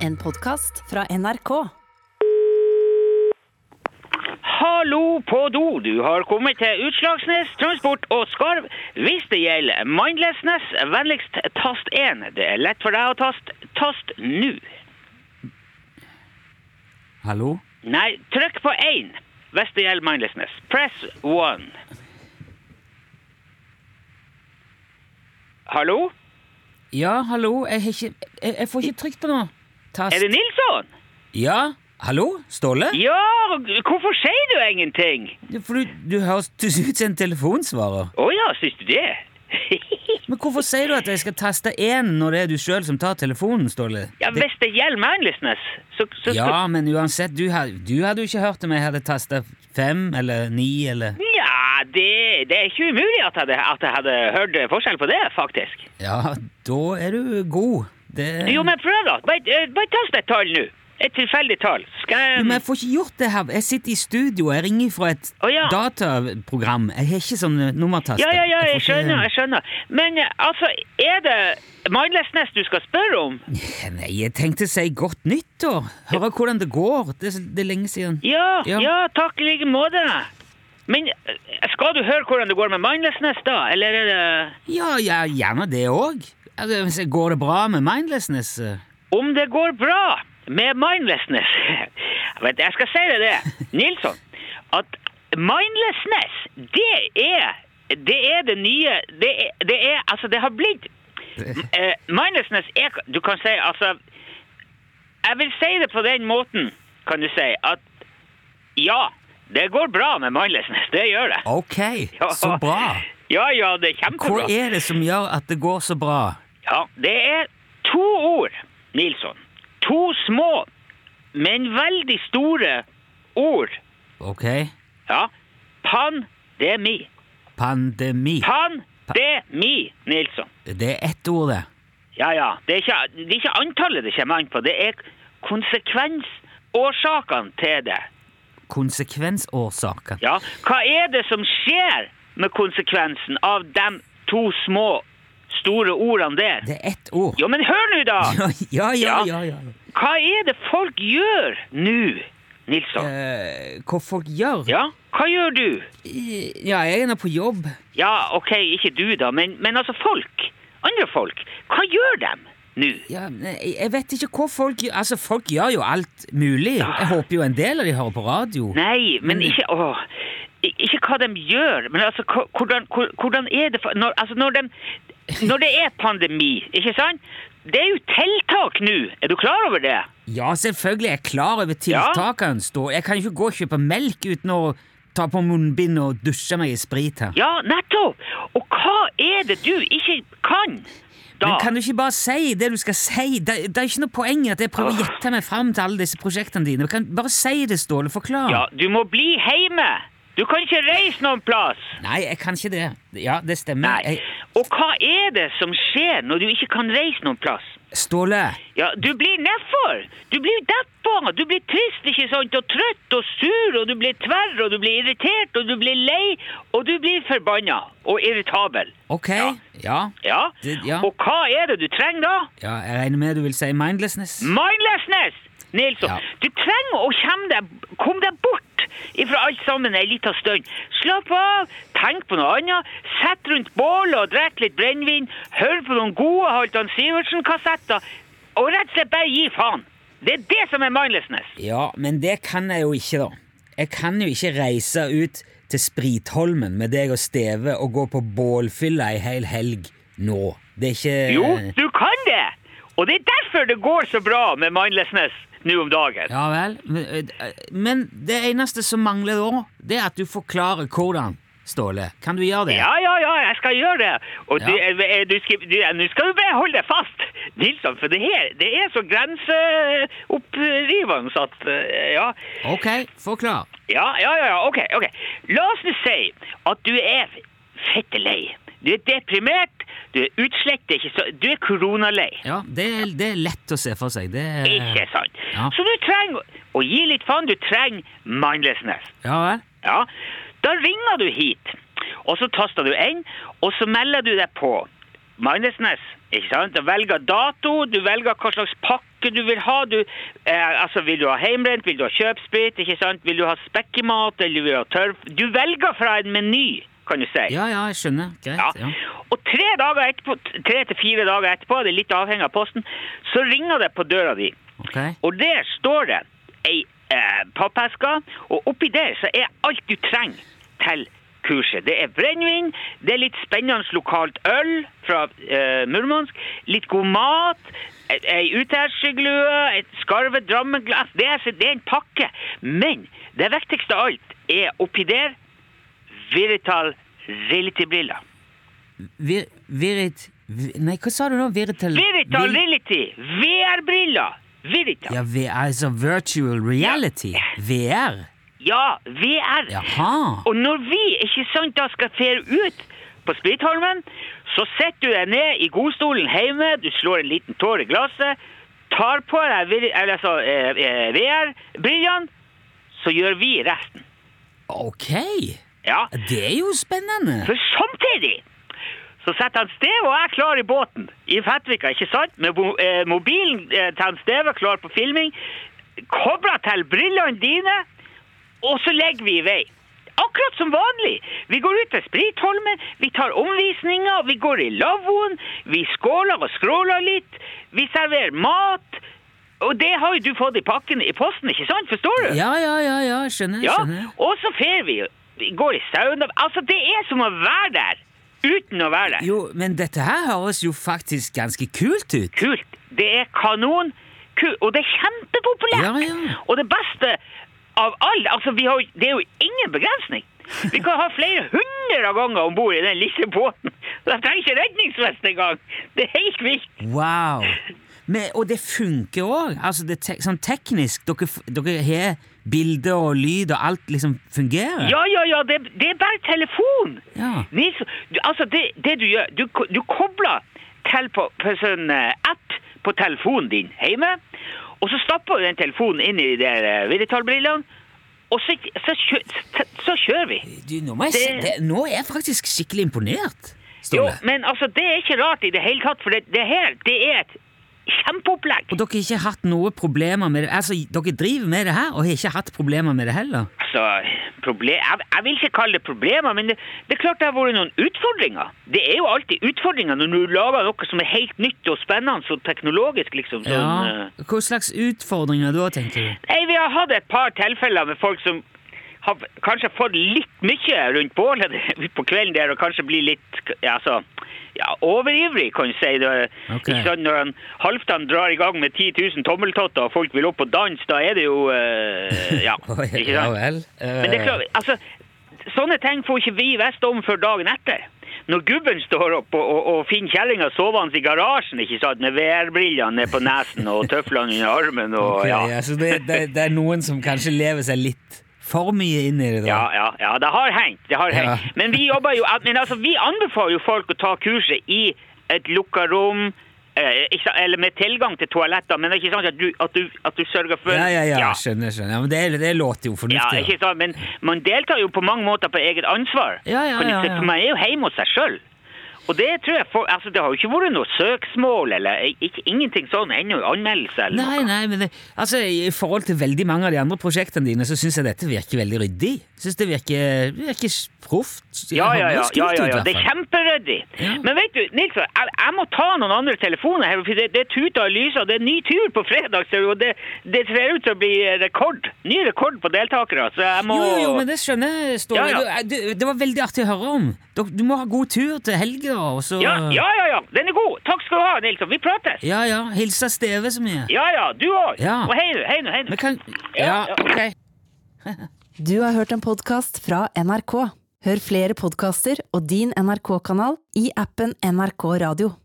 En podkast fra NRK. Hallo på do, du har kommet til Utslagsnes, Transport og Skarv. Hvis det gjelder Mindlessness, vennligst tast 1. Det er lett for deg å taste. Tast nå. Hallo? Nei, trykk på 1 hvis det gjelder Mindlessness. Press 1. Hallo? Ja, hallo? Jeg, har ikke, jeg, jeg får ikke trykt på noe. Tast. Er det Nilsson? Ja? Hallo? Ståle? Ja, hvorfor sier du ingenting? For du, du høres du ser ut som en telefonsvarer. Å ja, syns du det? Men hvorfor sier du at jeg skal taste én når det er du sjøl som tar telefonen, Ståle? ja, Det- hvis det gjelder Mindlessness, så, så, så ja, men uansett, du, had- du hadde jo ikke hørt om jeg hadde tasta fem eller ni eller Ja, det, det er ikke umulig at jeg, hadde- at jeg hadde hørt forskjell på det, faktisk. Ja, da er du god. Det Jo, men prøv da. Bare eh, bare tast et tall nå. Et tilfeldig tall. Skal Jo, men jeg jeg... får ikke gjort det her. Jeg sitter i studio, jeg ringer fra et Å, ja. dataprogram. Jeg har ikke sånn nummertaster. Ja, ja, ja, jeg får ikke- skjønner, jeg skjønner. Men eh, altså, er det Mindlessness du skal spørre om? Nei, jeg tenkte å si godt nyttår. Høre hvordan det går. Det, er- det er lenge siden. Ja, Ja. ja, takk i like måte. Men eh, skal du høre hvordan det går med Mindlessness da, eller er det... Ja, ja gjerne det òg. Altså, hvis jeg- går det bra med mindlessness? eh? Om det går bra med mindlessness Jeg vet, Jeg skal si deg det, Nilsson, at mindlessness, det er det, er det nye det er, det er Altså, det har blitt eh, Mindlessness er Du kan si altså Jeg vil si det på den måten, kan du si, at ja, det går bra med mindlessness. Det gjør det. Ok, Ja. så bra. Ja, ja, det er kjempebra. Hva er det som gjør at det går så bra? Ja, det er to ord, Nilsson. To små, men veldig store ord. Ok, Ja. Pandemi. pandemi. Pandemi, Nilsson. Det er ett ord, det. Ja, ja. Det er ikke, det er ikke antallet det kommer an på, det er konsekvensårsakene til det. Konsekvensårsaker. Ja. Hva er det som skjer med konsekvensen av de to små, store ordene der? Det er ett ord. Jo, men hør nå, da! Ja, ja, ja. Ja. ja, ja. Hva er det folk gjør nå, Nilsson? Eh, hva folk gjør? Ja, hva gjør du? Ja, jeg er nå på jobb. Ja, ok, ikke du da, men, men altså folk, andre folk, hva gjør dem nå? Ja, jeg jeg vet ikke hva folk gjør. Altså, folk gjør jo alt mulig. Jeg håper jo en del av de hører på radio. Nei, men ikke, åh, i- ikke hva de gjør, men altså, hva- hvordan, hvor- hvordan er det, for, når, altså, når, dem- når det er pandemi, ikke sant? Det er jo tiltak nå, er du klar over det? Ja, selvfølgelig er jeg klar over tiltakene. Stå. Jeg kan ikke gå og kjøpe melk uten å ta på munnbind og dusje meg i sprit her. Ja, nettopp! Og hva er det du ikke kan da? Men kan du ikke bare si det du skal si? Det, det er ikke noe poeng i at jeg prøver å gjette meg fram til alle disse prosjektene dine. Du kan bare si det, Ståle. Forklar. Ja, du må bli hjemme! Du kan ikke reise noen plass! Nei, jeg kan ikke det. Ja, det stemmer. Nei. Jeg, Og hva er det som skjer når du ikke kan reise noen plass? Ståle, Ja, Du blir nedfor! Du blir deppa! Du blir trist ikke sant? og trøtt og sur, og du blir tverr, og du blir irritert, og du blir lei, og du blir forbanna og irritabel. ok? Ja. Ja. Ja? Det- ja. Og hva er det du trenger da? ja, jeg regner med du vil si mindlessness? Mindlessness! Nilsson, Ja. du trenger å komme deg, kom deg bort ifra alt sammen en liten stund. Slapp av, tenk på noe annet, sett rundt bålet og drikk litt brennevin, hør på noen gode Halvdan Sivertsen-kassetter, og rett og slett bare gi faen. Det er det som er mindlessness. Ja, men det kan jeg jo ikke, da. Jeg kan jo ikke reise ut til Spritholmen med deg og Steve og gå på bålfylla ei hel helg nå. Det er ikke Jo, du kan det! Og det er derfor det går så bra med mindlessness nå om dagen. Ja vel. Men, men det eneste som mangler da, det er at du forklarer hvordan, Ståle. Kan du gjøre det? Ja, ja, ja, jeg skal gjøre det. Og Ja. du, eh, eh, du skal, du, eh, nå skal du bare holde deg fast, Nilsson, for det her det er så grenseopprivende at eh, ja. Ok, forklar. ja, ja, ja, ja, ok, ok. La oss nå si at du er fette lei. Du er deprimert, du er utslett, det er ikke så, du er koronalei. Ja, det er, det er lett å se for seg. Det er, Ikke sant? Ja. Så du trenger å gi litt faen, du trenger mindlessness. Ja vel? Ja, da ringer du hit, og så taster du inn, og så melder du deg på. Mindlessness, ikke sant? Du velger dato, du velger hva slags pakke noe du vil ha. Du, eh, altså, vil du ha hjemmebrent, vil du ha kjøpsprit, ikke sant? Vil du ha spekkemat, eller vil du ha tørv? Du velger fra en meny, kan du si. Ja, ja, jeg skjønner. Ja. Greit. Ja. Og tre, dager etterpå, tre til fire dager etterpå, det er litt avhengig av posten, så ringer det på døra di. Ok. Og der står det ei eh, pappeske, og oppi der så er alt du trenger til kurset. Det er brennevin, det er litt spennende lokalt øl fra eh, Murmansk, litt god mat, ei- ei uthærsglue, et skarvet drammenglass. Det er, så- det er en pakke. Men det viktigste av alt er oppi der Virital Reality-briller. Vir, virit vi- Nei, hva sa du nå? Viritel Virital vil- Reality! VR-briller! Virital. Ja, vi, altså virtual reality. VR. Ja, VR. Jaha. Og når vi ikke sant da skal fere ut på Spritholmen, så setter du deg ned i godstolen hjemme, du slår en liten tår i glasset, tar på deg vir- eller altså, eh, eh, VR-brillene, så gjør vi resten. Ok. Ja. Det er jo spennende. For samtidig så setter han Steve og jeg klar i båten i Fettvika, ikke sant? Med bo- eh, mobilen eh, til han Steve klar på filming, kobla til brillene dine, og så legger vi i vei. Akkurat som vanlig. Vi går ut til Spritholmen, vi tar omvisninger, vi går i lavvoen, vi skåler og skråler litt, vi serverer mat. Og det har jo du fått i pakken i posten, ikke sant? Forstår du? Ja, ja, ja, ja, skjønner. Ja, skjønner. og så fer vi. Vi går i sauna. Altså, det er som å være der uten å være der. Jo, men dette her høres jo faktisk ganske kult ut. Kult. Det er kanon. Ku- Og det er kjempepopulært. Ja, ja. Og det beste av alle Altså, vi har, jo- det er jo ingen begrensning. Vi kan ha flere hundre ganger om bord i den lille båten. De trenger ikke redningsvest engang. Det er helt vilt. Wow. Men, og det funker òg. Altså, det te sånn teknisk. Dere, f- dere har bilder og lyd, og alt liksom fungerer. Ja, ja, ja. Det, det er bare telefon. Ja. Nils, du, altså det, det du gjør, du, ko- du kobler til på, på sånn eh, app på telefonen din hjemme, og så stapper du den telefonen inn i de der eh, videotalbrillene, og så, så, kjø, så, så kjører vi. Du, nå, må jeg, si- Det- det, nå er jeg faktisk skikkelig imponert, Jo, Ståle. men altså, det er ikke rart i det hele tatt, for det, det her, det er et kjempeopplegg. Og dere har ikke hatt noe problemer med det? Altså, dere driver med det her, og har ikke hatt problemer med det heller? Altså, proble- jeg, jeg vil ikke kalle det problemer, men det, det er klart det har vært noen utfordringer. Det er jo alltid utfordringer når du lager noe som er helt nytt og spennende og teknologisk, liksom. Sånn, eh, Ja. Hva slags utfordringer da, tenker du? Nei, vi har hatt et par tilfeller med folk som har kanskje fått litt mye rundt bålet på kvelden der, og kanskje blir litt ja, altså, ja, overivrig, kan du si. Det, er- Ok. ikke sant, når han, Halvdan drar i gang med 10 000 tommeltotter, og folk vil opp og danse, da er det jo eh, Ja. Ikke ja sant? vel. Eh, Men det er klart, altså, sånne ting får ikke vi vest om før dagen etter. Når gubben står opp og, og, og finner kjellinga sovende i garasjen ikke sant, med VR-brillene ned på nesen og tøflene under armen og Eh, ok, ja. ja, så det, det, det er noen som kanskje lever seg litt for mye inn i det, da. Ja, ja, ja, det har hengt. Det har Ja. hengt. Men vi jobber jo Men altså, vi anbefaler jo folk å ta kurset i et lukka rom. Eh, ikke, sant, eller med tilgang til toaletter, men det er ikke sant at du, at du, at du sørger for Ja, ja, ja, ja. skjønner, skjønner. Ja, men det, det låter jo Ja, fornuftig. ikke sant, men man deltar jo på mange måter på eget ansvar. Ja, ja, Kan du ja, si, ja. For man er jo hjemme hos seg sjøl. Og det tror jeg for, altså, det har jo ikke vært noe søksmål eller ikke, ingenting sånn ennå. Anmeldelse eller Nei, nei, men det, altså, I forhold til veldig mange av de andre prosjektene dine, så syns jeg dette virker veldig ryddig. Synes det virker, det virker proft. Ja, ja, ja. Det høres ja, kult ja, ut, ja. i hvert Det er fall. kjemperyddig. Ja. Men vet du, Nils, jeg, jeg må ta noen andre telefoner her, for det, det tuter og lyser. og Det er ny tur på fredag, ser du, og det, det ser ut til å bli rekord. Ny rekord på deltakere. Så jeg må Jo, jo, jo, men det skjønner jeg, Ståle. Ja, ja. Du, eh, du, det var veldig artig å høre om. Du, du må ha god tur til helga, og så ja, ja, ja, ja. Den er god. Takk skal du ha, Nils. Vi prates. ja, ja. Hilse Steve så mye. Ja ja, du òg. Ja. Og hei nå, hei nå, hei nå. Vi kan Ja, Ja, ja. ok. Du har hørt en podkast fra NRK. Hør flere podkaster og din NRK-kanal i appen NRK Radio.